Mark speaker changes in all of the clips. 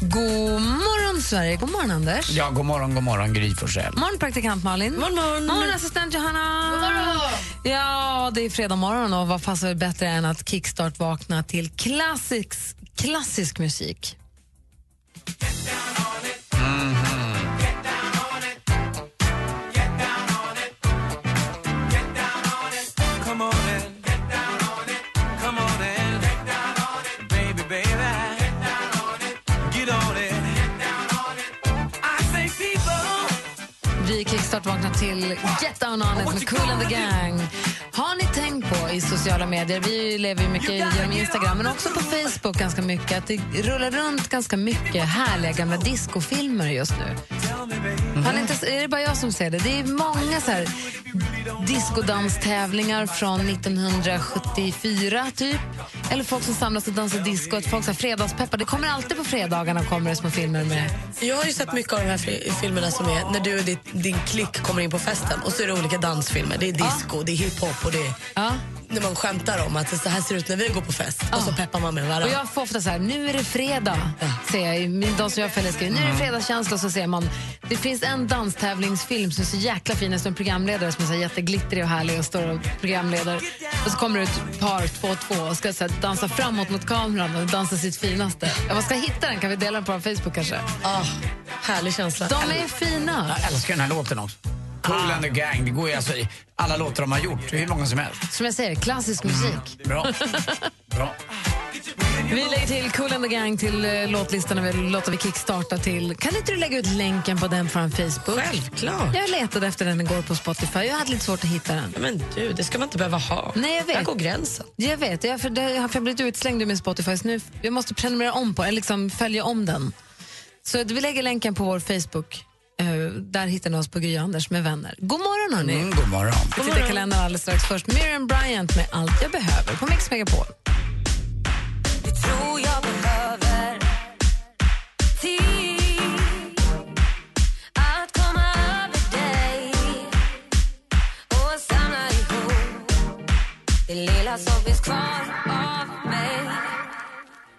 Speaker 1: God morgon, Sverige. God morgon, Anders.
Speaker 2: Ja, god morgon, god morgon, Gry Forssell.
Speaker 1: morgon, praktikant Malin. Morgon, morgon. assistent Johanna. God morgon. Ja, det är fredag morgon och vad passar bättre än att kickstart-vakna till klassisk, klassisk musik? Vi kickstart-vaknar till Get Down On It med Cool and the Gang. Har ni tänkt på i sociala medier, vi lever ju mycket genom Instagram men också på Facebook ganska mycket, att det rullar runt ganska mycket härliga gamla discofilmer just nu. Har ni inte, är det bara jag som ser det? Det är många så här diskodanstävlingar från 1974, typ. Eller folk som samlas och dansar disco, att folk så här fredagspeppar. Det kommer alltid på fredagarna kommer det små filmer med
Speaker 3: Jag har ju sett mycket av de här fi- filmerna som är när du och ditt, din klick kommer in på festen och så är det olika dansfilmer. Det är disco, det är hiphop och det är
Speaker 1: Ja.
Speaker 3: när man skämtar om att det så här ser det ut när vi går på fest och så peppar man med
Speaker 1: Och
Speaker 3: varandra.
Speaker 1: jag får ofta så här, nu är det fredag, ser jag. i min- De som jag följer skriver, nu är det fredagskänsla. Och så ser man, det finns en danstävlingsfilm som är så jäkla fin, det är en programledare som är så här jätteglittrig och härlig och står och programleder. Och så kommer det ett par, två och två, och ska så här, dansa framåt mot kameran och dansa sitt finaste. Jag bara, ska jag hitta den? Kan vi dela den på vår Facebook kanske?
Speaker 3: Ah, härlig känsla.
Speaker 1: De är fina.
Speaker 2: Jag älskar den här låten också. Cool and the Gang, det går ju alltså i alla låtar de har gjort, hur många som helst.
Speaker 1: Som jag säger, klassisk musik.
Speaker 2: Bra. Bra.
Speaker 1: Vi lägger till Cool and the Gang till eh, låtlistan och vi låter vi kickstarta till. Kan inte du lägga ut länken på den från Facebook?
Speaker 3: Självklart.
Speaker 1: Jag letade efter den igår på Spotify. Jag hade lite svårt att hitta den.
Speaker 3: Men du, det ska man inte behöva ha.
Speaker 1: Nej, jag vet.
Speaker 3: Där går gränsen.
Speaker 1: Jag vet, jag, för det, jag har blivit utslängd med Spotify så nu jag måste prenumerera om på eller liksom följa om den. Så att vi lägger länken på vår Facebook. Eh, där hittar ni oss på Gry Anders med vänner. God morgon hörni!
Speaker 2: Mm, god morgon.
Speaker 1: Vi tittar i kalendern alldeles strax. Först Miriam Bryant med Allt jag behöver på Mix Megapol.
Speaker 4: Tror jag behöver tid att komma över dig och samla ihop det lilla som finns kvar av mig.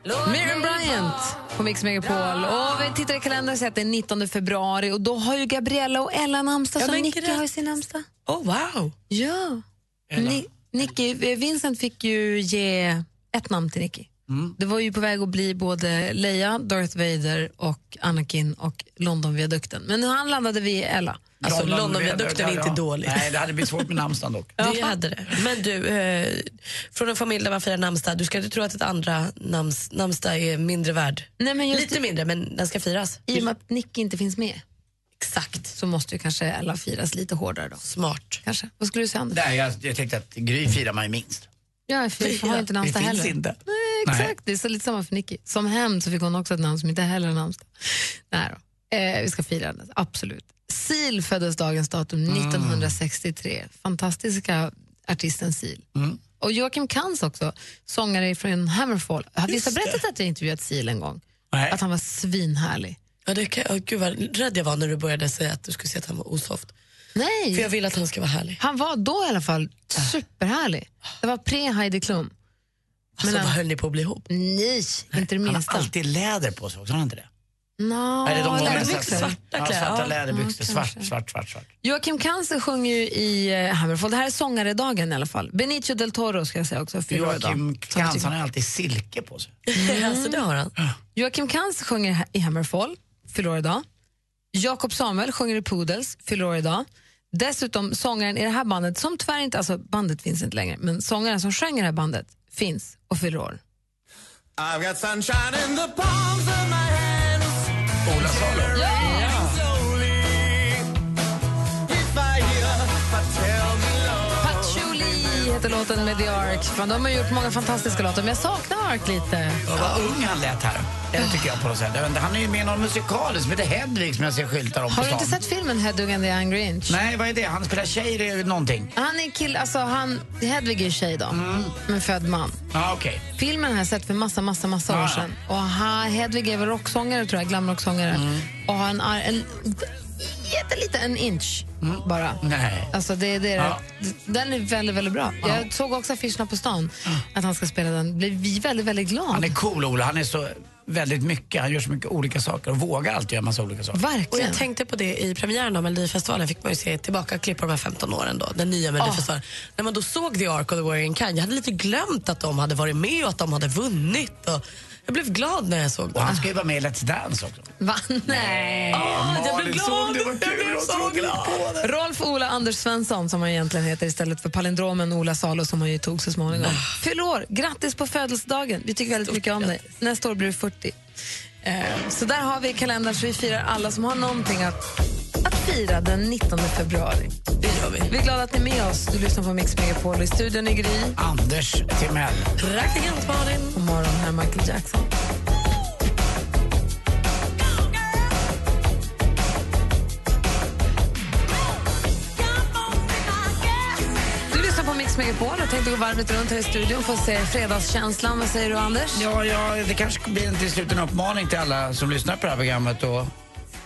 Speaker 4: Låt
Speaker 1: Miriam
Speaker 4: mig
Speaker 1: Bryant på Mix Megapol. Och vi tittar i kalendern och ser att det är 19 februari och då har ju Gabriella och Ella namnsdag.
Speaker 3: Ja,
Speaker 1: Så
Speaker 3: men
Speaker 1: Nicky
Speaker 3: grattis.
Speaker 1: har ju sin namnsdag.
Speaker 3: Oh, wow.
Speaker 1: Ja. Ni, Nicky, eh, Vincent fick ju ge ett namn till Nicky.
Speaker 3: Mm.
Speaker 1: Det var ju på väg att bli både Leia, Darth Vader och Anakin och Londonviadukten. Men nu han landade vi i Ella.
Speaker 3: Alltså, Londonviadukten är
Speaker 2: Ja, ja.
Speaker 3: inte dålig.
Speaker 2: Nej, det hade blivit svårt med namnsdagen dock.
Speaker 3: Det hade det. Men du, eh, från en familj där man firar namnsdag, du ska inte tro att ett andra namns, namnsdag är mindre värd.
Speaker 1: Nej, men just
Speaker 3: Lite mindre, men den ska firas.
Speaker 1: i och med att Nicky inte finns med
Speaker 3: Exakt.
Speaker 1: så måste ju kanske Ella firas lite hårdare då.
Speaker 3: Smart.
Speaker 1: Kanske. Vad skulle du säga Anders?
Speaker 2: Nej, jag, jag tänkte att Gry firar man ju minst.
Speaker 1: Ja, för jag har ju inte
Speaker 2: Det
Speaker 1: namnsdag
Speaker 2: finns
Speaker 1: heller.
Speaker 2: inte.
Speaker 1: Nej, exakt. Det är så lite samma för Nicky. Som hämnd så fick hon också ett namn som inte heller har namnsdag. Nej då. Eh, vi ska fira henne, absolut. Sil föddes dagens datum
Speaker 2: Mm.
Speaker 1: 1963. Fantastiska artisten Sil.
Speaker 2: Mm.
Speaker 1: Och Joakim Kans också, sångare från Hammerfall. Har visst har berättat att jag intervjuat Sil en gång?
Speaker 2: Nej.
Speaker 1: Att han var svinhärlig.
Speaker 3: Ja, det kan, oh, gud vad rädd jag var när du började säga att du skulle säga att han var osoft.
Speaker 1: Nej,
Speaker 3: För jag vill att han ska vara härlig.
Speaker 1: han var då i alla fall
Speaker 2: Äh.
Speaker 1: superhärlig. Det var pre-Heidi Klum.
Speaker 3: Alltså,
Speaker 1: han-
Speaker 3: vad höll ni på att bli ihop?
Speaker 1: Nej, inte det
Speaker 2: Han har
Speaker 1: minsta.
Speaker 2: alltid läder på sig också, har han inte det?
Speaker 1: Nå,
Speaker 2: Eller de vanliga
Speaker 1: läderbyxor.
Speaker 2: svarta-
Speaker 3: Svarta kläder,
Speaker 2: Ja, svarta
Speaker 3: ja.
Speaker 2: läderbyxor.
Speaker 1: Ja,
Speaker 2: Svart,
Speaker 1: kanske.
Speaker 2: svart, svart, svart.
Speaker 1: Joakim Kanser sjunger ju i eh, Hammerfall. Det här är sångaredagen i alla fall. Benicio del Toro ska jag säga också. fyller år idag.
Speaker 2: Joakim
Speaker 1: Som jag
Speaker 2: Krantz,
Speaker 1: tycker-
Speaker 2: han har alltid silke på sig.
Speaker 1: Mm.
Speaker 3: alltså, det har han.
Speaker 1: Joakim Kanser sjunger ha- i Hammerfall, fyller år idag. Jakob Samuel sjunger i Poodles, fyller år idag. Dessutom sångaren i det här bandet, som tyvärr inte, alltså bandet finns inte längre, men sångaren som sjöng i det här bandet finns och fyller år.
Speaker 5: I've got sunshine in the palms of my hands.
Speaker 2: Ola Salo.
Speaker 5: Slowly, if I hear, but tell me love.
Speaker 1: Patchouli heter låten med The Ark. Fan, de har gjort många fantastiska låtar, men jag saknar Ark lite.
Speaker 2: Och vad ung han lät här. Det tycker jag på något sätt. Jag vet inte, Han är ju med i någon musikal som heter Hedvig som jag ser skyltar om
Speaker 1: Har
Speaker 2: på
Speaker 1: du
Speaker 2: stan.
Speaker 1: inte sett filmen Hedwig and the Angry Inch?
Speaker 2: Nej, vad är det? Han spelar tjej i någonting.
Speaker 1: Han är kill, alltså han, Hedwig är ju tjej då, men född man.
Speaker 2: Ja, ah, okej.
Speaker 1: Filmen har jag sett för massa, massa, massa
Speaker 2: Ah,
Speaker 1: år
Speaker 2: ja.
Speaker 1: sedan. Och ha, Hedvig är väl rocksångare, tror jag, glamrocksångare.
Speaker 2: Mm.
Speaker 1: Och har en, ar- en jätteliten, en inch bara.
Speaker 2: Mm. Nej.
Speaker 1: Alltså det, det är,
Speaker 2: Ja.
Speaker 1: d- Den är väldigt, väldigt bra. Jag såg också affischerna på stan, att han ska spela den. Blev vi väldigt, väldigt glad.
Speaker 2: Han är cool, Ola. Han är så väldigt mycket. Han gör så mycket olika saker och vågar alltid göra massa olika saker.
Speaker 3: Och
Speaker 1: Verkligen.
Speaker 3: jag tänkte på det i premiären av Melodifestivalen fick man ju se tillbaka klipp på de här 15 åren då, den nya Melodifestivalen. När man då såg The Ark och The Warrior in Kind, jag hade lite glömt att de hade varit med och att de hade vunnit. Och jag blev glad när jag såg
Speaker 2: Och
Speaker 3: det.
Speaker 2: han ska ju vara med i Let's Dance också.
Speaker 1: Va? Nej.
Speaker 3: Ah, jag blev
Speaker 2: Malin,
Speaker 3: glad!
Speaker 2: såg du vad
Speaker 3: Jag
Speaker 2: kul
Speaker 3: blev
Speaker 2: hon
Speaker 3: så
Speaker 2: trodde
Speaker 3: glad!
Speaker 1: Rolf Ola Anders Svensson, som han egentligen heter istället för palindromen Ola Salo som han ju tog så småningom. Fyller år. Grattis på födelsedagen. Vi tycker väldigt mycket om dig. Nästa år blir du 40. Eh, Så där har vi kalendern så vi firar alla som har någonting att, att fira den 19 februari.
Speaker 3: Det gör vi.
Speaker 1: Vi är glada att ni är med oss. Du lyssnar på Mix Megapol i studion i Gry.
Speaker 2: Anders Timell.
Speaker 3: Praktikant Malin.
Speaker 1: God morgon, här är Michael Jackson. Du lyssnar på Mix Megapol. Jag tänkte gå varvet runt här i studion för att se fredagskänslan. Vad säger du, Anders?
Speaker 2: Ja, ja, det kanske blir en- till slut en uppmaning till alla som lyssnar på det här programmet och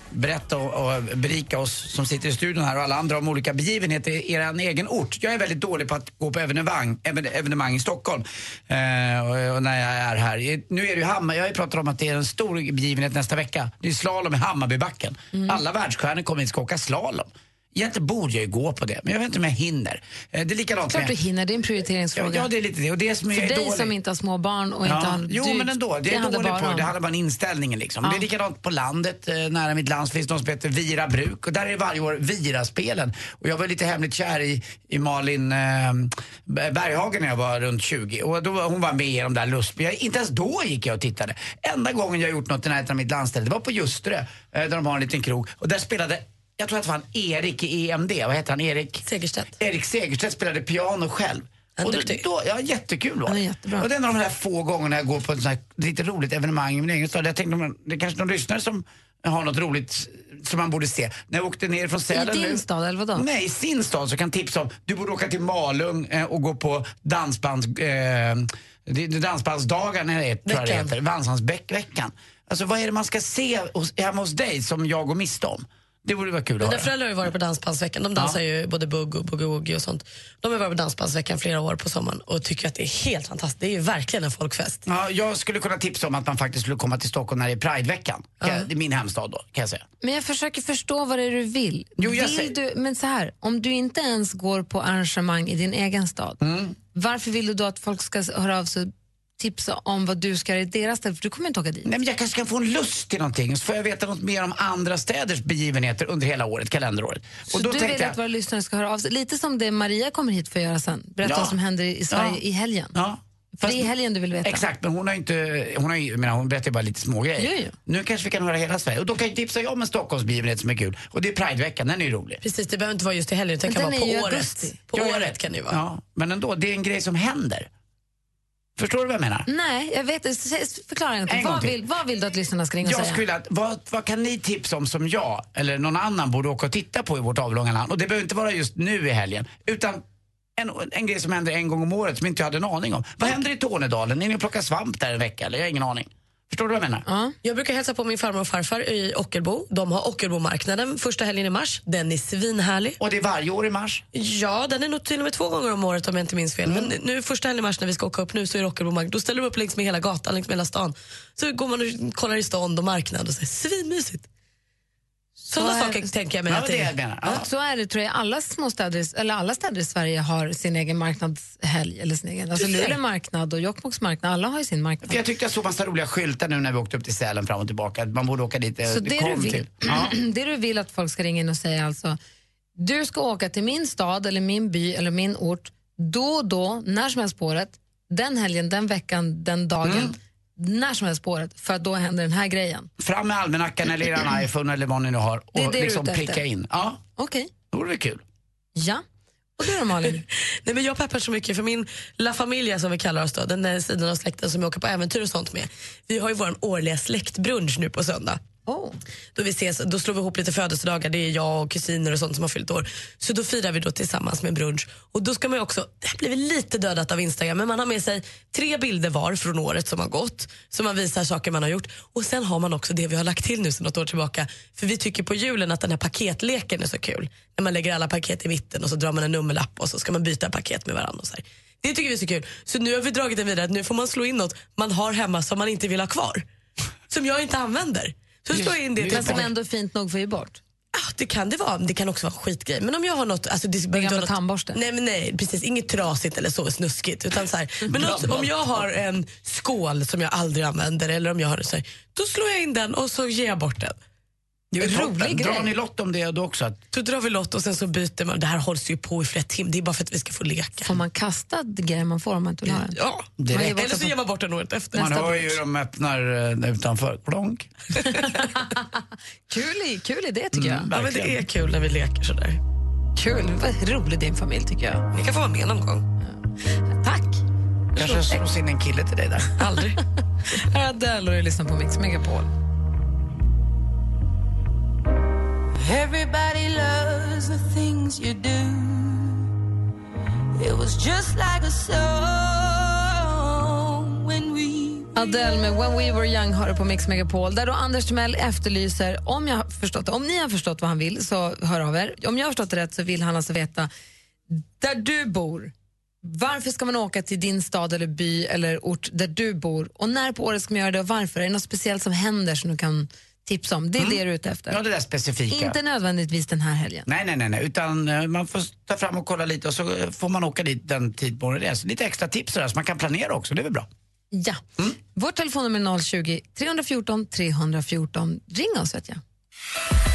Speaker 2: berätta och, och berika oss som sitter i studion här och alla andra om olika begivenheter i er egen ort. Jag är väldigt dålig på att gå på evenemang, even- evenemang i Stockholm eh, och, och när jag är här. Eh, Nu är det ju Hammar, jag har ju pratat om att det är en stor begivenhet nästa vecka. Det är slalom i Hammarbybacken.
Speaker 1: Mm.
Speaker 2: Alla världsstjärnor kommer hit och ska åka slalom. Egentligen borde jag ju gå på det, men jag vet inte om jag hinner. Eh, Det är likadant
Speaker 1: Klart du
Speaker 2: med...
Speaker 1: hinner. Det är en
Speaker 2: Ja,
Speaker 1: prioriteringsfråga.
Speaker 2: ja, det är lite det. Och det som
Speaker 1: för
Speaker 2: jag är
Speaker 1: dig
Speaker 2: dålig.
Speaker 1: som inte har små barn och inte
Speaker 2: Ja.
Speaker 1: har...
Speaker 2: Jo,
Speaker 1: du-
Speaker 2: men ändå. Det är jag
Speaker 1: handlar
Speaker 2: dålig
Speaker 1: bara
Speaker 2: på.
Speaker 1: om-
Speaker 2: Det handlar bara om inställningen. Liksom. Det är likadant på landet. eh, Nära mitt land så finns det något som heter Vira bruk. Och där är det varje år Viraspelen. Och jag var lite hemligt kär i, i Malin eh, Berghagen när jag var runt 20. Och då, var- hon var med i de där lustbilarna. Inte ens då gick jag och tittade. Enda gången jag gjort något i närheten av mitt landställe, det var på Ljusterö. eh, Där de har en liten krog. Och där spelade, jag tror att det var han Erik i EMD. Vad heter han? Erik?
Speaker 3: Segerstedt.
Speaker 2: Erik Segerstedt spelade piano själv.
Speaker 3: Han är
Speaker 2: Och då,
Speaker 3: duktig.
Speaker 2: då, ja, jättekul var
Speaker 1: Han
Speaker 2: det.
Speaker 1: är jättebra.
Speaker 2: Och det är en av de där få gångerna jag går på ett sånt här lite roligt evenemang i min egen stad. Jag tänkte, men det är kanske någon lyssnare som har något roligt som man borde se. När jag åkte ner från Sälen
Speaker 1: I din
Speaker 2: nu-
Speaker 1: stad, eller vadå?
Speaker 2: Nej, i sin stad så kan tipsa om, du borde åka till Malung eh, och gå på dansbands... Eh, det- det är dansbandsdagar när det är, tror jag det
Speaker 3: Veckan.
Speaker 2: heter. Dansbandsveckan. Alltså vad är det man ska se hos, hemma hos dig som jag går miste om? Det borde vara kul att
Speaker 3: Mina
Speaker 2: höra.
Speaker 3: föräldrar har ju varit på Dansbandsveckan. De dansar
Speaker 2: Ja.
Speaker 3: ju både bugg och boogie-woogie och sånt. De har varit på Dansbandsveckan flera år på sommaren och tycker att det är helt fantastiskt. Det är ju verkligen en folkfest.
Speaker 2: Ja, jag skulle kunna tipsa om att man faktiskt skulle komma till Stockholm när det är Prideveckan. Kan- Det är min hemstad då, kan jag säga.
Speaker 1: Men jag försöker förstå vad det är du vill.
Speaker 2: Jo, jag
Speaker 1: vill
Speaker 2: säger-
Speaker 1: du, men så här, om du inte ens går på arrangemang i din egen stad,
Speaker 2: Mm.
Speaker 1: varför vill du då att folk ska höra av sig och tipsa om vad du ska göra i deras ställe? För du kommer inte åka dit.
Speaker 2: Nej, men jag kanske kan få en lust till någonting så får jag veta något mer om andra städers begivenheter under hela året, kalenderåret.
Speaker 1: Så du vill att våra lyssnare ska höra av sig. Lite som det Maria kommer hit för att göra sen. Berätta
Speaker 2: Ja.
Speaker 1: vad som händer i Sverige
Speaker 2: Ja.
Speaker 1: i helgen.
Speaker 2: Ja.
Speaker 1: För
Speaker 2: Fast-
Speaker 1: det är i helgen du vill veta.
Speaker 2: Exakt, men hon har ju inte, hon har ju, jag menar, hon berättar ju bara lite smågrejer.
Speaker 1: Jo, jo.
Speaker 2: Nu kanske vi kan höra hela Sverige. Och då kan jag tipsa jag om en Stockholmsbegivenhet som är kul. Och det är Prideveckan, den är ju rolig.
Speaker 3: Precis, det behöver inte vara just i helgen utan det
Speaker 1: Men
Speaker 3: kan
Speaker 1: den
Speaker 3: vara på
Speaker 1: är ju i
Speaker 3: året.
Speaker 1: augusti.
Speaker 3: På
Speaker 2: Ja, ja.
Speaker 3: året kan det ju vara.
Speaker 2: Ja, men ändå, det är en grej som händer. Förstår du vad jag menar?
Speaker 1: Nej, jag vet inte. Förklara inte.
Speaker 2: En gång
Speaker 1: Vad
Speaker 2: till.
Speaker 1: vill, vad vill du att lyssnarna ska ringa och
Speaker 2: Jag
Speaker 1: säga?
Speaker 2: skulle vilja att, vad, vad kan ni tipsa om som jag eller någon annan borde åka och titta på i vårt avlånga land? Och det behöver inte vara just nu i helgen, utan en, en grej som händer en gång om året som inte jag hade en aning om. Vad händer i Tornedalen? Är ni och plockar svamp där en vecka? Eller? Jag har ingen aning. Förstår du vad jag menar?
Speaker 3: Jag brukar hälsa på min farmor och farfar i Ockelbo. De har Ockelbomarknaden första helgen i mars. Den är svinhärlig.
Speaker 2: Och det är varje år i mars.
Speaker 3: Ja, den är nog till och med två gånger om året om jag inte minns fel.
Speaker 1: Mm.
Speaker 3: Men nu första helgen i mars när vi ska åka upp nu så är det Ockelbomarknad. Då ställer de upp längs med hela gatan, längs med hela stan. Så går man och kollar i stånd och marknad och så är det svinmysigt. Sådana
Speaker 1: är-
Speaker 3: saker tänker jag mig
Speaker 2: Ja,
Speaker 3: att
Speaker 2: det är
Speaker 3: det
Speaker 2: det jag
Speaker 3: är.
Speaker 2: menar. Ja.
Speaker 1: Så är det, tror jag. Alla, små städer, eller alla städer i Sverige har sin egen marknadshelg. Eller sin egen. Alltså
Speaker 2: Du ser.
Speaker 1: Luleå marknad och Jokkmokks marknad, alla har ju sin
Speaker 2: För
Speaker 1: marknad.
Speaker 2: jag tyckte jag såg massa roliga skyltar nu när vi åkte upp till Sälen fram och tillbaka. att Man borde åka dit. eh,
Speaker 1: Så det
Speaker 2: kom
Speaker 1: du, vill,
Speaker 2: till. Ja.
Speaker 1: det du vill att folk ska ringa in och säga alltså, du ska åka till min stad eller min by eller min ort då och då, när som helst på året, den helgen, den veckan, den dagen, när som helst på året, för att då händer den här grejen.
Speaker 2: Fram med almanackan eller er iPhone eller vad ni nu har
Speaker 1: Det är
Speaker 2: och
Speaker 1: det du är
Speaker 2: liksom
Speaker 1: ute efter.
Speaker 2: pricka in. Ja,
Speaker 1: Okej.
Speaker 2: det vore väl kul.
Speaker 1: Ja. Och du då Malin?
Speaker 3: Nej, men jag peppar så mycket för min La Familia som vi kallar oss då, den där sidan av släkten som jag åker på äventyr och sånt med. Vi har ju vår årliga släktbrunch nu på söndag.
Speaker 1: Oh.
Speaker 3: Då, vi ses, då slår vi ihop lite födelsedagar, det är jag och kusiner och sånt som har fyllt år. Så då firar vi då tillsammans med brunch. Och då ska man ju också, det här blir väl lite dödat av Instagram, men man har med sig tre bilder var från året som har gått. Så man visar saker man har gjort. Och sen har man också det vi har lagt till nu sedan något år tillbaka. För vi tycker på julen att den här paketleken är så kul. När man lägger alla paket i mitten och så drar man en nummerlapp och så ska man byta paket med varandra. Och så här. Det tycker vi är så kul. Så nu har vi dragit den vidare att nu får man slå in något man har hemma som man inte vill ha kvar. Som jag inte använder. Så slår jag in det till
Speaker 1: Men som
Speaker 3: barn.
Speaker 1: ändå fint nog får ge bort.
Speaker 3: Ah, det kan det vara. Det kan också vara en skitgrej. Men om jag har något... Alltså, det behöver inte
Speaker 1: gamla
Speaker 3: vara något-
Speaker 1: tandborsten.
Speaker 3: Nej, men nej, precis. Inget trasigt eller så snuskigt. Utan så här.
Speaker 1: Mm.
Speaker 3: Men något, om jag har en skål som jag aldrig använder eller om jag har så här, då slår jag in den och så ger jag bort den.
Speaker 2: Det är
Speaker 1: Rolig
Speaker 2: toppen.
Speaker 1: grej.
Speaker 2: Drar ni lott om det då också? Att
Speaker 3: Då drar vi lott och sen så byter man. Det här hålls ju på i flera timmar. Det är bara för att vi ska få leka.
Speaker 1: Får man kasta grejer man får om man inte vill ha den?
Speaker 3: Ja,
Speaker 1: Man ger
Speaker 2: direkt.
Speaker 1: bort
Speaker 3: eller så
Speaker 1: den
Speaker 3: ger
Speaker 1: på-
Speaker 3: man bort den året efter.
Speaker 2: Man
Speaker 1: Nästa
Speaker 2: hör ju hur de öppnar eh, utanför. Klonk.
Speaker 1: Kul, i- kul idé tycker jag.
Speaker 3: Ja, men det är kul när vi leker sådär.
Speaker 1: Kul, vad rolig din familj tycker jag.
Speaker 3: Ni kan få vara med någon gång.
Speaker 1: Tack!
Speaker 2: Kanske slås in en kille till dig där.
Speaker 3: Aldrig.
Speaker 1: Här är Adele och du lyssnar på Mix Megapol.
Speaker 6: Everybody loves the things you do. It was just like a song when we
Speaker 1: Adele med When We Were Young har du på Mix Megapol där då Anders Timell efterlyser, om jag har förstått det, om ni har förstått vad han vill så hör av er. Om jag har förstått det rätt så vill han alltså veta där du bor, varför ska man åka till din stad eller by eller ort där du bor och när på året ska man göra det och varför? Är det något speciellt som händer som du kan tipsa om? Det är det du är ute efter.
Speaker 2: Ja, det där specifika.
Speaker 1: Inte nödvändigtvis den här helgen.
Speaker 2: Nej, nej, nej, nej, utan eh, man får ta fram och kolla lite och så eh, får man åka dit den tid på året det är. Så Lite extra tips sådär, så man kan planera också, det är väl bra.
Speaker 1: Ja. Vårt telefonnummer är 020 314 314. Ring oss vet jag.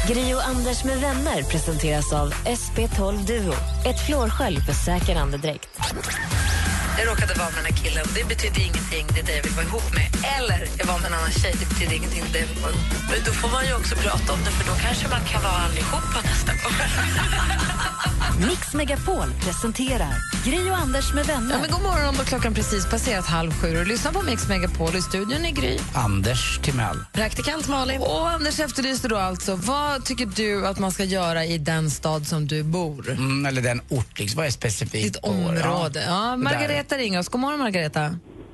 Speaker 4: Gri och Anders med vänner presenteras av SP12 Duo. Ett flårskölj för säker andedräkt.
Speaker 1: Jag råkade vara med den här killen. Det betydde ingenting, det är det jag vill vara ihop med. Eller jag var med en annan tjej, det betyder ingenting, det är det jag vill vara ihop med.
Speaker 3: Men då får man ju också prata om det för då kanske man kan vara allihopa nästa gång.
Speaker 4: Mix Megapol presenterar Gri och Anders med vänner.
Speaker 1: Ja, men god morgon, då klockan precis passerat halv sju. Och lyssna på Mix Megapol i studion i Gry.
Speaker 2: Anders Timell.
Speaker 1: Praktikant Malin. Och Anders efterlyste då alltså, vad tycker du att man ska göra i den stad som du bor?
Speaker 2: Mm, eller den ort, liksom. vad är specifikt?
Speaker 1: Ditt
Speaker 2: på år?
Speaker 1: område. Ja,
Speaker 2: Där.
Speaker 1: Margareta ringer oss. God morgon, Margareta.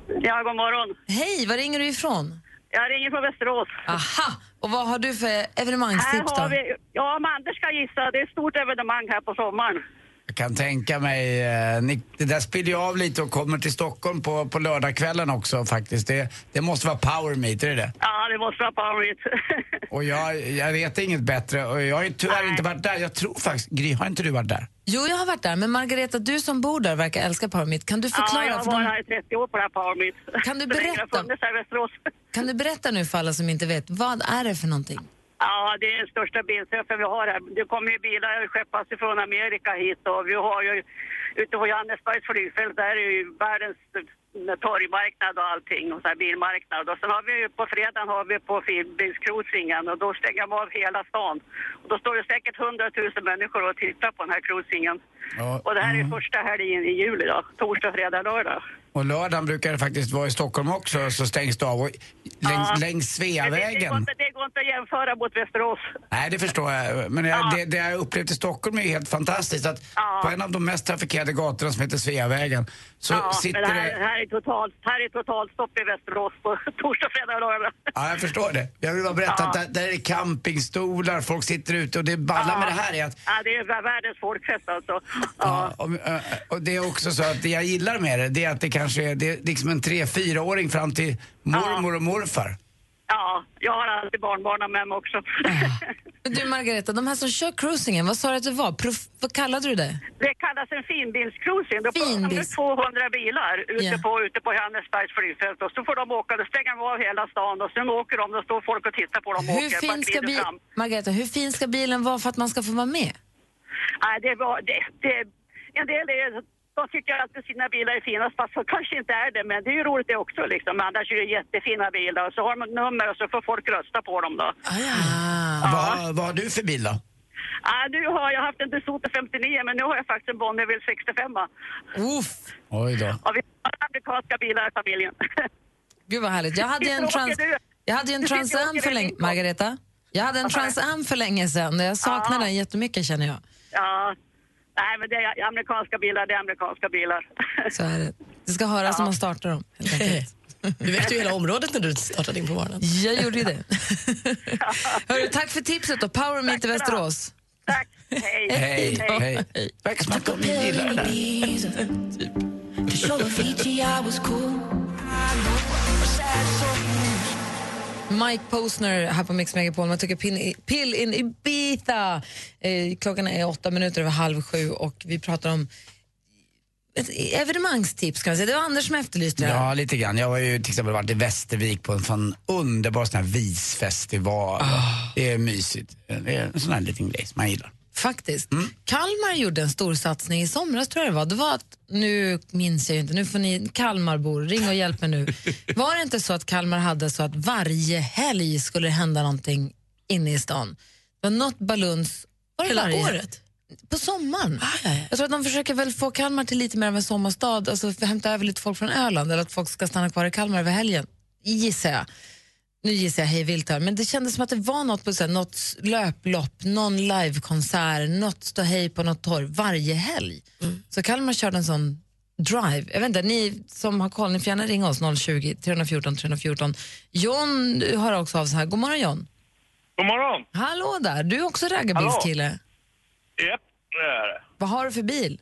Speaker 7: Ja, god morgon.
Speaker 1: Hej, var ringer du ifrån?
Speaker 7: Jag ringer från Västerås.
Speaker 1: Aha! Och vad har du för
Speaker 7: Här
Speaker 1: evenemangstips då?
Speaker 7: har vi, ja, om Anders ska gissa, det är ett stort evenemang här på sommaren.
Speaker 2: Jag kan tänka mig, eh, ni, det där spiller jag av lite och kommer till Stockholm på, på lördagskvällen också faktiskt. Det, det måste vara power meet, är det det?
Speaker 7: Ja, det måste vara powerigt.
Speaker 2: Och jag, jag vet inget bättre och jag har ju tyvärr inte varit där. Jag tror faktiskt, Gry, har inte du varit där?
Speaker 1: Jo, jag har varit där, men Margareta, du som bor där verkar älska Paramit. Kan du
Speaker 7: Ja,
Speaker 1: förklara?
Speaker 7: jag har
Speaker 1: för de-
Speaker 7: varit här i 30 år på det här powermeet.
Speaker 1: Kan du
Speaker 7: Så länge det har
Speaker 1: berätta?
Speaker 7: funnits här i Västerås.
Speaker 1: Kan du berätta nu för alla som inte vet, vad är det för någonting?
Speaker 7: Ja, det är den största bilträffen vi har här. Det kommer ju bilar skeppas ifrån Amerika hit och vi har ju ute på Johannesbergs flygfält, där är ju världens torgmarknad och allting och så här bilmarknad. Och sen har vi ju på fredagen har vi på bilcruisingen och då stänger de av hela stan. Och då står det säkert 100 000 människor och tittar på den här cruisingen.
Speaker 2: Ja,
Speaker 7: och det här är första helgen i juli då, torsdag, fredag, lördag.
Speaker 2: Och lördagen brukar det faktiskt vara i Stockholm också, så stängs det av. Och längs, längs
Speaker 7: Men Det, det, går
Speaker 2: Sveavägen.
Speaker 7: inte, det går inte att jämföra mot Västerås.
Speaker 2: Nej, det förstår jag. Men jag,
Speaker 7: Ja.
Speaker 2: det, det jag upplevt i Stockholm är ju helt fantastiskt. Att
Speaker 7: Ja.
Speaker 2: På en av de mest trafikerade gatorna som heter Sveavägen så
Speaker 7: Ja,
Speaker 2: sitter
Speaker 7: men det här,
Speaker 2: det...
Speaker 7: här, är totalt, här är totalt stopp i Västerås på torsdag, fredag och lördag.
Speaker 2: Ja, jag förstår det. Jag vill bara berätta
Speaker 7: Ja.
Speaker 2: att där, där är det campingstolar, folk sitter ute och det balla med det här är att
Speaker 7: Ja, det är vär- världens folkfest alltså.
Speaker 2: Ja,
Speaker 7: Ja.
Speaker 2: och, eh, och det är också så att det jag gillar med det, det är att det kanske är, det är liksom en tre fyraåring fram till mormor och morfar.
Speaker 7: ja, jag har alltid barnbarnen med mig också.
Speaker 1: Men du Margareta, de här som kör cruisingen, vad sa du att det var? Prof- vad kallade du det?
Speaker 7: Det kallas en finbilscruising. Då får de
Speaker 1: Finbils-
Speaker 7: ut 200 bilar ute,
Speaker 1: Ja.
Speaker 7: på, ute på Johannesbergs flygfält och så får de åka, då stänger de av hela stan och sen åker de, då står folk och tittar på dem och
Speaker 1: Hur
Speaker 7: åker
Speaker 1: fin, ska
Speaker 7: glider
Speaker 1: bi-
Speaker 7: fram.
Speaker 1: Margareta, hur fin ska bilen vara för att man ska få vara med?
Speaker 7: Nej, det var... Det, det, en del är, de tycker alltid sina bilar är fina, fast så kanske inte är det. Men det är ju roligt det också. Liksom. Men Annars är det jättefina bilar. Och så har de ett nummer och så får folk rösta på dem. Då.
Speaker 1: Ah.
Speaker 2: Vad, vad har du för bil då?
Speaker 7: Ja, nu har jag haft en Desoto 59 men nu har jag faktiskt en Bonneville 65.
Speaker 1: Uff.
Speaker 2: Oj då.
Speaker 7: Och vi har amerikanska bilar i familjen.
Speaker 1: Gud vad härligt. Jag hade ju en
Speaker 7: Vilken
Speaker 1: trans,
Speaker 7: åker du?
Speaker 1: jag hade ju en
Speaker 7: Du sitter
Speaker 1: trans
Speaker 7: och
Speaker 1: am
Speaker 7: åker
Speaker 1: för
Speaker 7: i
Speaker 1: länge,
Speaker 7: din bil.
Speaker 1: Margareta. Jag hade en trans am för länge sedan. Jag saknar den jättemycket känner jag.
Speaker 7: Ja. Nej, men det är amerikanska bilar, det är amerikanska bilar.
Speaker 1: Så är det. Det ska höras när man startar dem. helt enkelt.
Speaker 3: Du väckte ju hela området när du startade in på morgonen.
Speaker 1: Jag gjorde ju det. Hörru, tack för tipset då. Power Meet i Västerås.
Speaker 7: Tack, hej.
Speaker 2: Hej, hej. Verkar som att de gillar det där.
Speaker 1: Typ. Mike Posner här på Mix Megapol. Man tycker pin- pill in Ibiza. Eh, klockan är åtta minuter över halv sju och vi pratar om ett evenemangstips kan man säga. Det var Anders som efterlyste det. här.
Speaker 2: Ja, lite grann. Jag har ju till exempel varit i Västervik på en sån underbar sån här visfestival. Det är mysigt. Det är en sån här liten grej som man gillar.
Speaker 1: Faktiskt. Kalmar gjorde en stor satsning i somras tror jag det var. Det var att, nu minns jag ju inte, nu får ni Kalmarbor, ring och hjälp mig nu. Var det inte så att Kalmar hade så att varje helg skulle det hända någonting inne i stan? Det var något baluns... Var det
Speaker 3: Hela
Speaker 1: varje?
Speaker 3: året? Ah,
Speaker 1: På sommaren.
Speaker 3: ja, ja.
Speaker 1: Jag tror att de försöker väl få Kalmar till lite mer av en sommarstad, alltså för att hämta över lite folk från Öland eller att folk ska stanna kvar i Kalmar över helgen, gissar jag. Nu gissar jag hej vilt här, men det kändes som att det var något på så här, något löplopp, någon livekonsert, något stå hej på något torg varje helg. Så Kalmar körde en sån drive. Jag vet inte, ni som har koll, ni får gärna ringa oss 020-314 314. John du hör också av sig här. God morgon John.
Speaker 7: God morgon.
Speaker 1: Hallå där, du är också raggarbilskille.
Speaker 7: Japp, det är det.
Speaker 1: Vad har du för bil?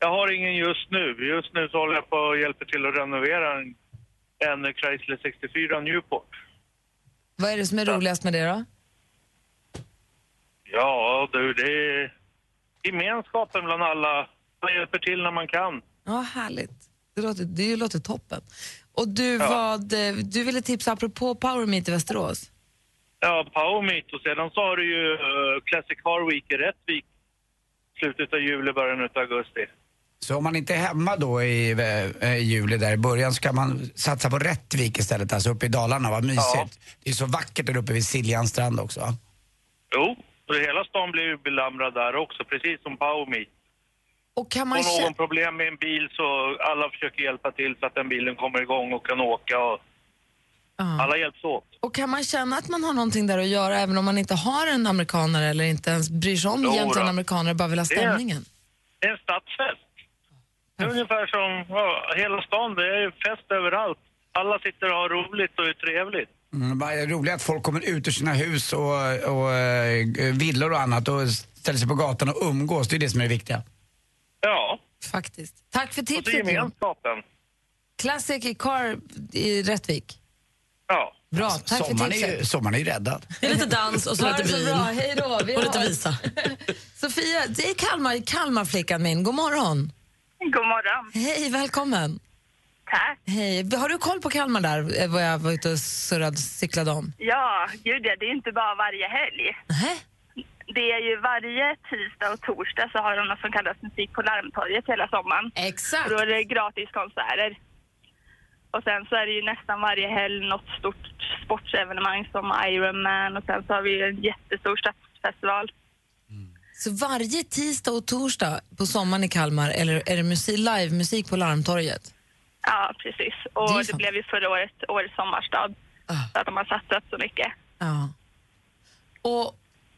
Speaker 7: Jag har ingen just nu. Just nu så håller jag på och hjälper till att renovera en, en Chrysler 64 Newport.
Speaker 1: Vad är det som är roligast med det då?
Speaker 7: Ja, du, det är gemenskapen bland alla. Man hjälper till när man kan.
Speaker 1: Ja, härligt. Det låter, det låter toppen. Och du, vad, eh, du ville tipsa apropå Power Meet i Västerås.
Speaker 7: Ja, Powermeet och sedan så har du ju eh, Classic Car Week i Rättvik. Slutet av juli, början av augusti.
Speaker 2: Så om man inte är hemma då i eh, juli där i början så kan man satsa på Rättvik istället, alltså uppe i Dalarna. Vad mysigt.
Speaker 7: Ja.
Speaker 2: Det är så vackert där uppe vid Siljans strand också.
Speaker 7: Jo, och hela stan blir ju belamrad där också, precis som Powermeet.
Speaker 1: Och kan man
Speaker 7: Har någon
Speaker 1: kä-
Speaker 7: problem med en bil så alla försöker hjälpa till så att den bilen kommer igång och kan åka och
Speaker 1: ja.
Speaker 3: Mm.
Speaker 7: alla hjälps åt.
Speaker 1: och kan man känna att man har någonting där att göra även om man inte har en amerikanare eller inte ens bryr sig om
Speaker 7: Jo
Speaker 1: egentligen
Speaker 7: då.
Speaker 1: amerikanare bara vill ha
Speaker 7: Det-
Speaker 1: stämningen?
Speaker 7: Det är en stadsfest. Det är ungefär som ja, hela stan, det är fest överallt. Alla sitter och har roligt och är trevligt.
Speaker 2: Mm, vad är det roliga är att folk kommer ut ur sina hus och, och eh, villor och annat och ställer sig på gatan och umgås. Det är det som är det viktiga.
Speaker 7: Ja,
Speaker 1: Faktiskt. Tack för
Speaker 7: och så
Speaker 1: tipset. John.
Speaker 7: gemenskapen.
Speaker 1: Classic i Car i Rättvik.
Speaker 7: Ja.
Speaker 1: Bra, tack för
Speaker 2: Sommaren är, ju,
Speaker 1: tipset.
Speaker 2: sommaren är ju räddad.
Speaker 3: Det är lite dans och så
Speaker 1: Ha
Speaker 3: lite
Speaker 1: det så
Speaker 3: bil.
Speaker 1: bra, hej då. Vi
Speaker 3: Och lite
Speaker 1: har-
Speaker 3: visa.
Speaker 1: Sofia, det är Kalmar, Kalmarflickan min. God morgon.
Speaker 7: God morgon.
Speaker 1: Hej, välkommen.
Speaker 7: Tack.
Speaker 1: Hej. Har du koll på Kalmar där, eh, vad jag var ute och surrade, cyklade om?
Speaker 7: Ja, gud ja, det är inte bara varje helg.
Speaker 1: Nej.
Speaker 7: Det är ju varje tisdag och torsdag så har de något som kallas musik på Larmtorget hela sommaren. Och
Speaker 1: Exakt.
Speaker 7: då är det gratiskonserter. Och sen så är det ju nästan varje helg något stort sportsevenemang som Ironman och sen så har vi ju en jättestor stadsfestival.
Speaker 1: Så varje tisdag och torsdag på sommaren i Kalmar eller är det musik, livemusik på Larmtorget?
Speaker 7: Ja, precis.
Speaker 1: Det är
Speaker 7: Och det,
Speaker 1: sant.
Speaker 7: blev ju förra året årets sommarstad.
Speaker 1: Ah.
Speaker 7: Så att de har satsat så mycket.
Speaker 1: Ja. Och,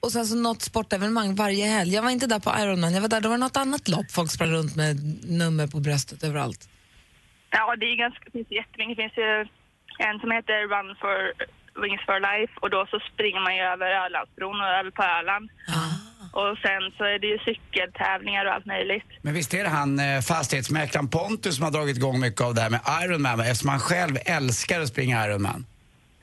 Speaker 1: och sen så något sportevenemang varje helg. Jag var inte där på Ironman, jag var där, det var något annat lopp. Folk sprang runt med nummer på bröstet överallt.
Speaker 7: Ja, det är ju ganska, det finns ju jättemycket. Det finns ju en som heter Run for Wings for Life och då så springer man ju över Ölandsbron och över på Öland. Och sen så är det ju cykeltävlingar och allt möjligt.
Speaker 2: Men visst är det han eh, fastighetsmäklaren Pontus som har dragit igång mycket av det här med Ironman eftersom han själv älskar att springa Ironman.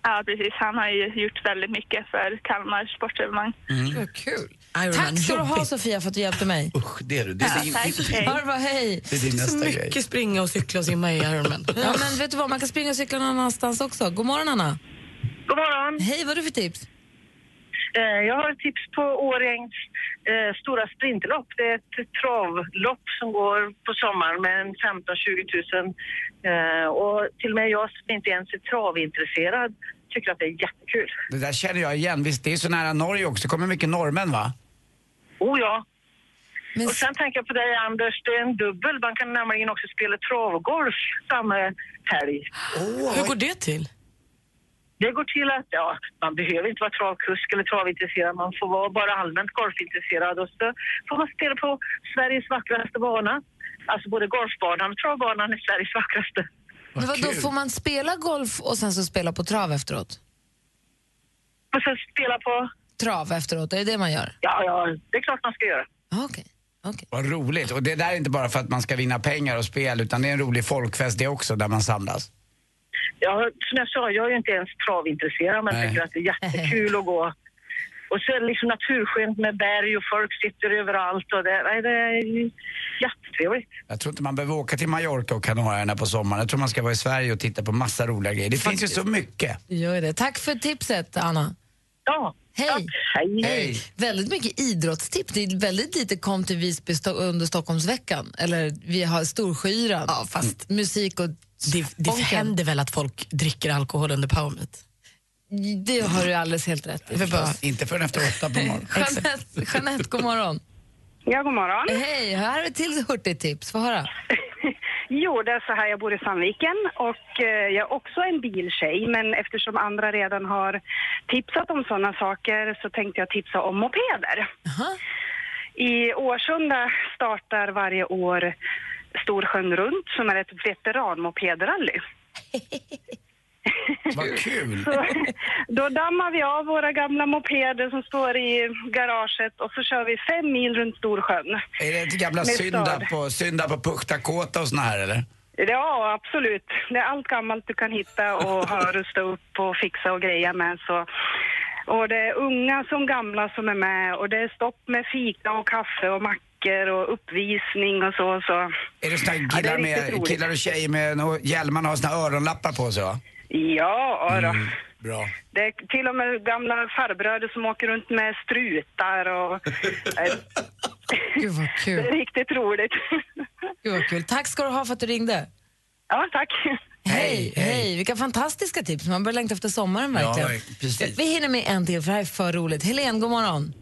Speaker 7: Ja, precis. Han har ju gjort väldigt mycket för Kalmars sportevenemang.
Speaker 1: Vad kul.
Speaker 3: Ironman,
Speaker 1: Tack ska du ha
Speaker 3: jobbigt.
Speaker 1: Sofia för att du hjälpte mig.
Speaker 2: Usch, det är du. Det är, din-
Speaker 7: Tack. Hej.
Speaker 1: Harva, hej.
Speaker 2: det är din
Speaker 3: Så
Speaker 2: nästa grej.
Speaker 3: mycket springa och cykla och simma i Ironman.
Speaker 1: Ja, men vet du vad, man kan springa och cykla någon annanstans också. God morgon Anna.
Speaker 7: God morgon.
Speaker 1: Hej, vad har du för tips?
Speaker 7: Eh, Jag har ett tips på Årängs eh, stora sprintlopp. Det är ett travlopp som går på sommaren med en 15-20 000. Eh, Och till och med jag som inte ens är travintresserad tycker att det är jättekul.
Speaker 2: Det där känner jag igen. Visst, det är så nära Norge också. Det kommer mycket norrmän, va?
Speaker 8: Oh ja.
Speaker 1: Men-
Speaker 8: Och sen tänker jag på dig Anders, det är en dubbel. Man kan nämligen också spela travgolf samma helg.
Speaker 3: Hur går det till?
Speaker 8: Det går till att, ja, man behöver inte vara travkusk eller travintresserad, man får vara bara allmänt golfintresserad och så får man spela på Sveriges vackraste bana. Alltså både golfbanan och travbanan är Sveriges vackraste.
Speaker 1: Men vadå, får man spela golf och sen så spela på trav efteråt?
Speaker 8: Och sen spela på,
Speaker 1: Trav efteråt, är det det man gör?
Speaker 8: ja, ja, det är klart man ska göra.
Speaker 1: Ah, Okej. okej.
Speaker 2: Vad roligt. Och det där är inte bara för att man ska vinna pengar och spel utan det är en rolig folkfest det också där man samlas.
Speaker 8: Ja, som jag sa, jag är ju inte ens travintresserad men
Speaker 2: Nej.
Speaker 8: tycker att det är jättekul att gå. Och så är det liksom naturskönt med berg och folk sitter överallt och det, nej, det är ju jättetrevligt.
Speaker 2: Jag tror inte man behöver åka till Mallorca och Kanarierna på sommaren. Jag tror man ska vara i Sverige och titta på massa roliga grejer. Det finns ju så mycket.
Speaker 1: Det Gör det. Tack för tipset, Anna.
Speaker 8: Ja,
Speaker 1: Hej.
Speaker 8: tack. Hej.
Speaker 2: Hej.
Speaker 1: Väldigt mycket idrottstips. Det är väldigt lite kom till Visby sto- under Stockholmsveckan. Eller vi har Storsjöyran.
Speaker 3: Ja, fast-
Speaker 1: Musik och
Speaker 3: Det, det
Speaker 1: Bonken.
Speaker 3: händer väl att folk dricker alkohol under power meet?
Speaker 1: Det har du alldeles helt rätt i.
Speaker 3: Det är bara-
Speaker 2: Inte förrän efter åtta på morgonen.
Speaker 1: Jeanette, Jeanette, god morgon.
Speaker 8: Ja, god morgon.
Speaker 1: Hej, här är ett till hurtigt tips. Få höra.
Speaker 8: Jo, det är så här, jag bor i Sandviken och eh, jag är också en biltjej men eftersom andra redan har tipsat om sådana saker så tänkte jag tipsa om mopeder.
Speaker 1: Aha.
Speaker 8: I Årsunda startar varje år Storsjön runt som är ett veteranmopedrally.
Speaker 2: Vad kul.
Speaker 8: Så, då dammar vi av våra gamla mopeder som står i garaget och så kör vi fem mil runt Storsjön.
Speaker 2: Är det till gamla
Speaker 8: Med
Speaker 2: synda
Speaker 8: stad.
Speaker 2: på, synda på Puktakåta och såna här eller?
Speaker 8: Ja, absolut. Det är allt gammalt du kan hitta och ha rusta upp och fixa och greja med. Så. Och det är unga som gamla som är med och det är stopp med fika och kaffe och mackor och uppvisning och så. så.
Speaker 2: Är det såna här
Speaker 8: Ja, det är
Speaker 2: killar,
Speaker 8: riktigt
Speaker 2: med,
Speaker 8: roligt.
Speaker 2: killar och tjejer med nå- hjälmarna har såna här öronlappar på sig va?
Speaker 8: Ja, då.
Speaker 2: Mm. Bra.
Speaker 8: Det är till och med gamla farbröder som åker runt med strutar och...
Speaker 1: Gud vad
Speaker 8: det är
Speaker 1: kul.
Speaker 8: riktigt roligt.
Speaker 1: Gud vad kul. Tack ska du ha för att du ringde.
Speaker 8: ja, tack.
Speaker 1: Hej,
Speaker 2: Hej,
Speaker 1: hej,
Speaker 2: hej.
Speaker 1: Vilka fantastiska tips. Man börjar längta efter sommaren verkligen.
Speaker 2: verkligen. Precis.
Speaker 1: Vi hinner med en till för det här är för roligt. Helen, god morgon.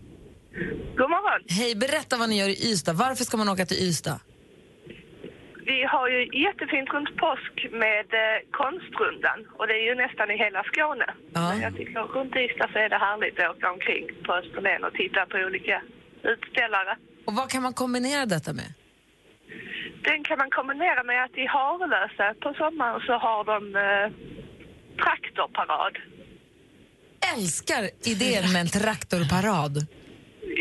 Speaker 8: God morgon.
Speaker 1: Hej, berätta vad ni gör i Ystad. Varför ska man åka till Ystad?
Speaker 8: Vi har ju jättefint runt påsk med eh, konstrundan och det är ju nästan i hela Skåne.
Speaker 1: Ja.
Speaker 8: Men jag tycker runt Ystad så är det härligt att åka omkring på Österlen och titta på olika utställare.
Speaker 1: Och vad kan man kombinera detta med?
Speaker 8: Den kan man kombinera med att i Harlösa på sommaren så har de eh, traktorparad.
Speaker 1: Älskar idén med en traktorparad.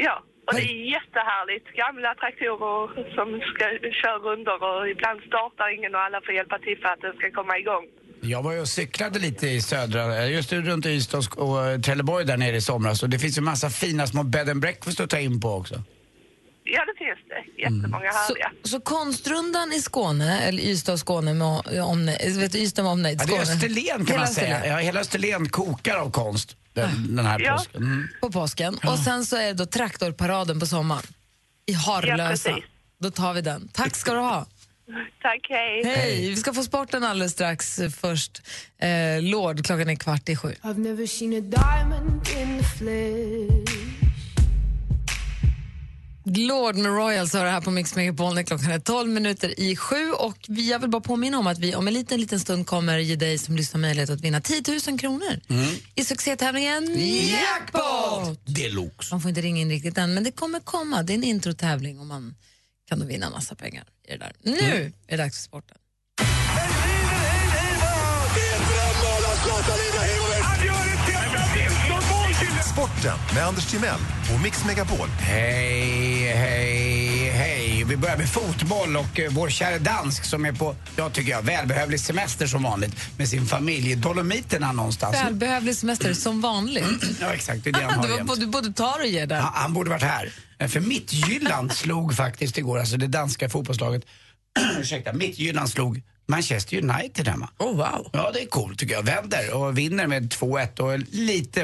Speaker 8: Ja, och det är jättehärligt. Gamla traktorer som ska köra rundor och ibland startar ingen och alla får hjälpa till för att den ska komma igång.
Speaker 2: Jag var ju och cyklade lite i södra, eh, just runt Ystad och, och Trelleborg där nere i somras och det finns ju massa fina små bed and breakfast att ta in på också.
Speaker 8: Ja, det finns det. Jättemånga härliga.
Speaker 1: Mm. Så, så konstrundan i Skåne, eller Ystad och Skåne med omnejd, vet du, Ystad med omnejd,
Speaker 2: Ja, det
Speaker 1: Skåne.
Speaker 2: är Österlen kan
Speaker 1: Hela
Speaker 2: man säga.
Speaker 1: Österlen Ah.
Speaker 2: Ja, hela Österlen kokar av konst den, den här
Speaker 8: Ja.
Speaker 2: påsken. Mm.
Speaker 1: På påsken. Och sen så är det då traktorparaden på sommaren. I Harlösa.
Speaker 8: Ja, precis.
Speaker 1: då tar vi den. Tack ska du ha.
Speaker 8: Tack, hej.
Speaker 1: Hej, vi ska få sporten alldeles strax. Först eh, Lord, klockan är kvart i sju.
Speaker 6: I've never seen a diamond in the flesh.
Speaker 1: Lord med Royals hör det här på Mix Megapol när klockan är 12 minuter i sju. Och vi, jag vill bara påminna om att vi om en liten, liten stund kommer ge dig som lyssnar möjlighet att vinna 10 000 kronor
Speaker 2: Mm.
Speaker 1: i succétävlingen Jackpot!
Speaker 2: Deluxe.
Speaker 1: Man får inte ringa in riktigt än, men det kommer komma. Det är en introtävling och man kan då vinna massa pengar i det där. Nu
Speaker 2: Mm.
Speaker 1: är det dags för sporten.
Speaker 9: Sporten med Anders Timell och Mix Megapol.
Speaker 2: Hej, hej, hej. Vi börjar med fotboll och eh, vår kära dansk som är på, jag tycker jag, välbehövlig semester som vanligt med sin familj. Dolomiterna någonstans.
Speaker 1: Välbehövlig semester som vanligt.
Speaker 2: Ja, exakt. Det är det han
Speaker 1: Ah, du,
Speaker 2: har
Speaker 1: var
Speaker 2: Mm. jämt.
Speaker 1: både, både tar och ger där.
Speaker 2: Han, han borde varit här. Eh, För Mittjylland slog faktiskt igår, alltså det danska fotbollslaget, ursäkta, Mittjylland slog Manchester United hemma.
Speaker 3: Oh, wow.
Speaker 2: Ja, det är coolt tycker jag. Vänder och vinner med 2-1 och lite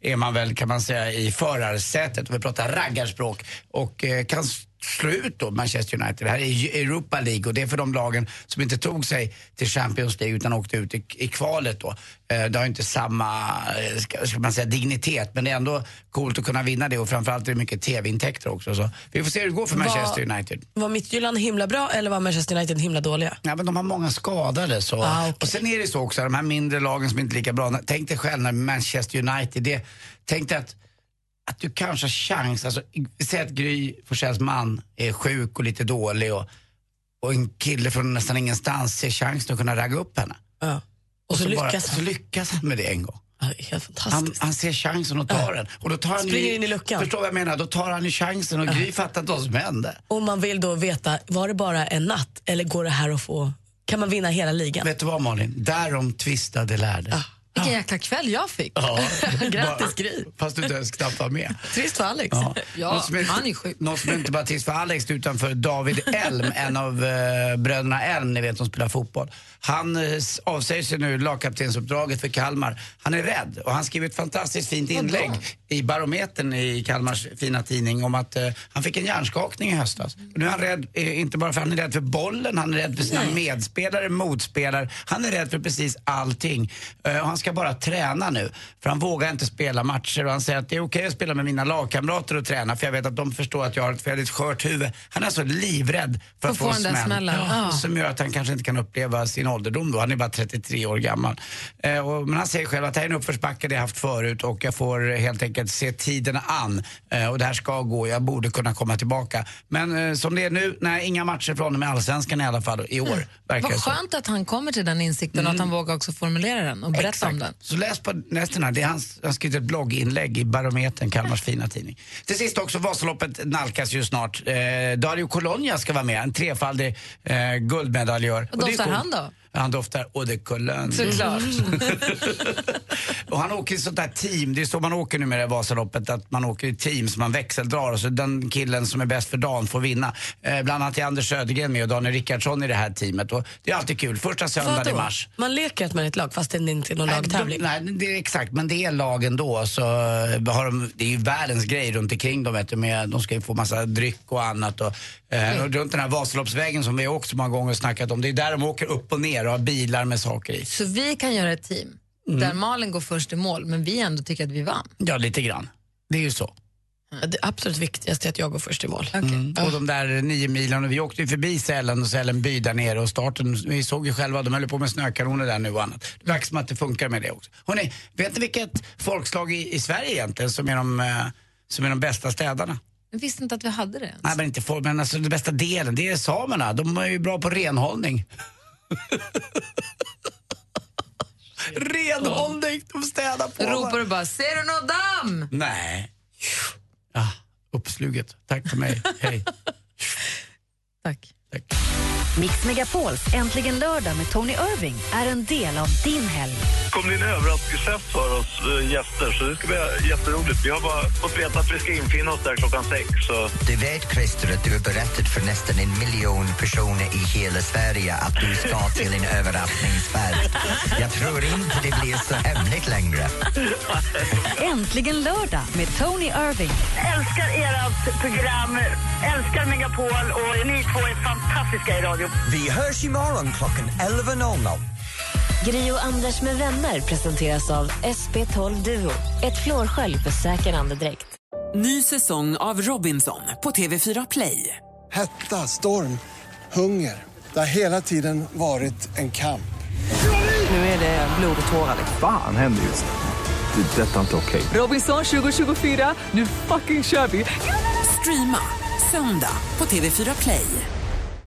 Speaker 2: eh, är man väl kan man säga i förarsätet, om vi pratar raggarspråk, och eh, kan s- slå ut då Manchester United. Det här är ju Europa League och det är för de lagen som inte tog sig till Champions League utan åkte ut i, i kvalet då. Eh, Det har ju inte samma, eh, ska, ska man säga, dignitet men det är ändå coolt att kunna vinna det och framförallt är det mycket TV-intäkter också. Så vi får se hur det går för Manchester United.
Speaker 3: Var Midtjylland himla bra eller var Manchester United himla dåliga?
Speaker 2: Ja, men de har många skadade. Så.
Speaker 3: Ah, okej.
Speaker 2: Och sen är det så också, de här mindre lagen som inte är lika bra. Tänk dig själv när Manchester United, det, tänk dig att, att du kanske har chans. Alltså, i- säg att Gry Forssells man är sjuk och lite dålig och, och en kille från nästan ingenstans ser chansen att kunna ragga upp henne.
Speaker 3: Ja. Och, så, lyckas
Speaker 2: bara, så
Speaker 3: han.
Speaker 2: lyckas han med det en gång.
Speaker 3: Ja, det är helt
Speaker 2: Han,
Speaker 3: fantastiskt.
Speaker 2: han ser chansen och tar den. Och då tar han ju-
Speaker 3: Springer in i luckan.
Speaker 2: Förstår vad jag menar? Då tar han ju chansen och Gry fattar inte vad som hände.
Speaker 3: Och man vill då veta, var det bara en natt eller går det här att få, kan man vinna hela ligan?
Speaker 2: Vet du vad Malin? Därom tvistade lärde.
Speaker 1: Vilken jäkla kväll jag fick.
Speaker 2: Ja.
Speaker 3: Grattis,
Speaker 2: Bara-
Speaker 3: Gry.
Speaker 2: Fast du inte ens knappt var med.
Speaker 3: Trist för Alex.
Speaker 2: Ja.
Speaker 1: Ja,
Speaker 2: Något som
Speaker 1: han är sjuk.
Speaker 2: Något som inte bara är trist för Alex utan för David Elm, en av eh, bröderna Elm, ni vet som spelar fotboll. Han eh, s- avsäger sig nu lagkaptensuppdraget för Kalmar. Han är rädd och han skriver ett fantastiskt fint inlägg i Barometern i Kalmars fina tidning om att eh, han fick en hjärnskakning i höstas. Och nu är han rädd, eh, inte bara för att han är rädd för bollen, han är rädd för sina medspelare, motspelare. Han är rädd för precis allting. Eh, och han ska bara träna nu. För han vågar inte spela matcher och han säger att det är okej att spela med mina lagkamrater och träna för jag vet att de förstår att jag har ett väldigt skört huvud. Han är alltså livrädd för att
Speaker 1: För
Speaker 2: få
Speaker 1: att få
Speaker 2: en
Speaker 1: den där
Speaker 2: smäll.
Speaker 1: smällen.
Speaker 2: Ja.
Speaker 1: Ja.
Speaker 2: Som gör att han kanske inte kan uppleva sin ålderdom då. Han är bara 33 år gammal. Eh, och, men han säger själv att det här är en uppförsbacke det jag haft förut och jag får eh, helt enkelt se tiden an. Eh, och det här ska gå, jag borde kunna komma tillbaka. Men eh, som det är nu, nej, inga matcher från honom i Allsvenskan i alla fall i år. Verkar
Speaker 1: Mm.
Speaker 2: Mm.
Speaker 1: Vad
Speaker 2: det som.
Speaker 1: skönt att han kommer till den insikten och att han vågar också formulera den och berätta om den.
Speaker 2: Så läs på nästen här. Det är hans, han har skrivit ett blogginlägg i Barometern, Kalmars fina tidning. Till sist också, Vasaloppet nalkas ju snart. Eh, Dario Colonia ska vara med, en trefaldig eh, guldmedaljör.
Speaker 1: Och doftar
Speaker 2: det är coolt.
Speaker 1: han då?
Speaker 2: Han doftar Eau de Cologne.
Speaker 1: Såklart.
Speaker 2: och han åker i sånt där team, det är så man åker numera i Vasaloppet, att man åker i team som man växeldrar och så den killen som är bäst för dagen får vinna. Eh, bland annat är Anders Södergren med och Daniel Rickardsson i det här teamet. Och det är alltid kul, första söndagen i
Speaker 3: Vadå?
Speaker 2: mars.
Speaker 3: Man leker att man är ett lag fast det inte är någon
Speaker 2: Nej,
Speaker 3: lagtävling.
Speaker 2: de- Nej, det är exakt. Men det är lagen då. Så eh, har de, det är ju världens grej runt omkring dem. Vet du, med, de ska ju få massa dryck och annat. Och,
Speaker 3: Mm.
Speaker 2: eh, och runt den här Vasaloppsvägen som vi också många gånger snackat om. Det är där de åker upp och ner och har bilar med saker i.
Speaker 1: Så vi kan göra ett team
Speaker 2: Mm.
Speaker 1: där Malin går först i mål men vi ändå tycker att vi vann.
Speaker 2: Ja, lite grann. Det är ju så.
Speaker 3: Det absolut viktigaste är att jag går först i mål.
Speaker 2: Och de där nio milen, vi åkte ju förbi Sälen och Sälenby där nere och starten, vi såg ju själva, de höll på med snökanoner där nu och annat. Det verkar som att det funkar med det också. Hörrni, vet ni vilket folkslag i, i Sverige egentligen som är de, eh, som är de bästa städarna?
Speaker 1: Jag visste inte att vi hade det ens.
Speaker 2: Nej, men inte folk, men alltså den bästa delen, det är samerna. De är ju bra på renhållning. renhållning, de städar på.
Speaker 1: Då
Speaker 2: va?
Speaker 1: ropar du bara “Ser du någon damm?”
Speaker 2: Nej. Ah, uppsluget. Tack för mig. Hej.
Speaker 1: Tack.
Speaker 2: Tack.
Speaker 4: Mix Megapols Äntligen lördag med Tony Irving är en del av din helg.
Speaker 5: kommer bli en överraskningsträff för oss eh, gäster, så det ska bli jätteroligt. Vi har bara fått veta att vi ska infinna oss där klockan sex. Så.
Speaker 10: Du vet, Christer, att du har berättat för nästan en miljon personer i hela Sverige att du ska till en överraskningsfest. Jag tror inte det blir så hemligt längre.
Speaker 4: Äntligen lördag med Tony Irving.
Speaker 7: Älskar ert program, älskar Megapol och ni två är fantastiska i radio.
Speaker 10: Vi hörs imorgon klockan 11.00.
Speaker 4: Gri och Anders med vänner presenteras av SP12 Duo. Ett flårskölj för säker andedräkt.
Speaker 9: Ny säsong av Robinson på TV4 Play.
Speaker 11: Hetta, storm, hunger. Det har hela tiden varit en kamp.
Speaker 9: Nu är det blod och tårar. liksom.
Speaker 12: Fan händer just det. Det är detta inte okej.
Speaker 9: Robinson 2024, nu fucking kör vi! Streama söndag på TV4 Play.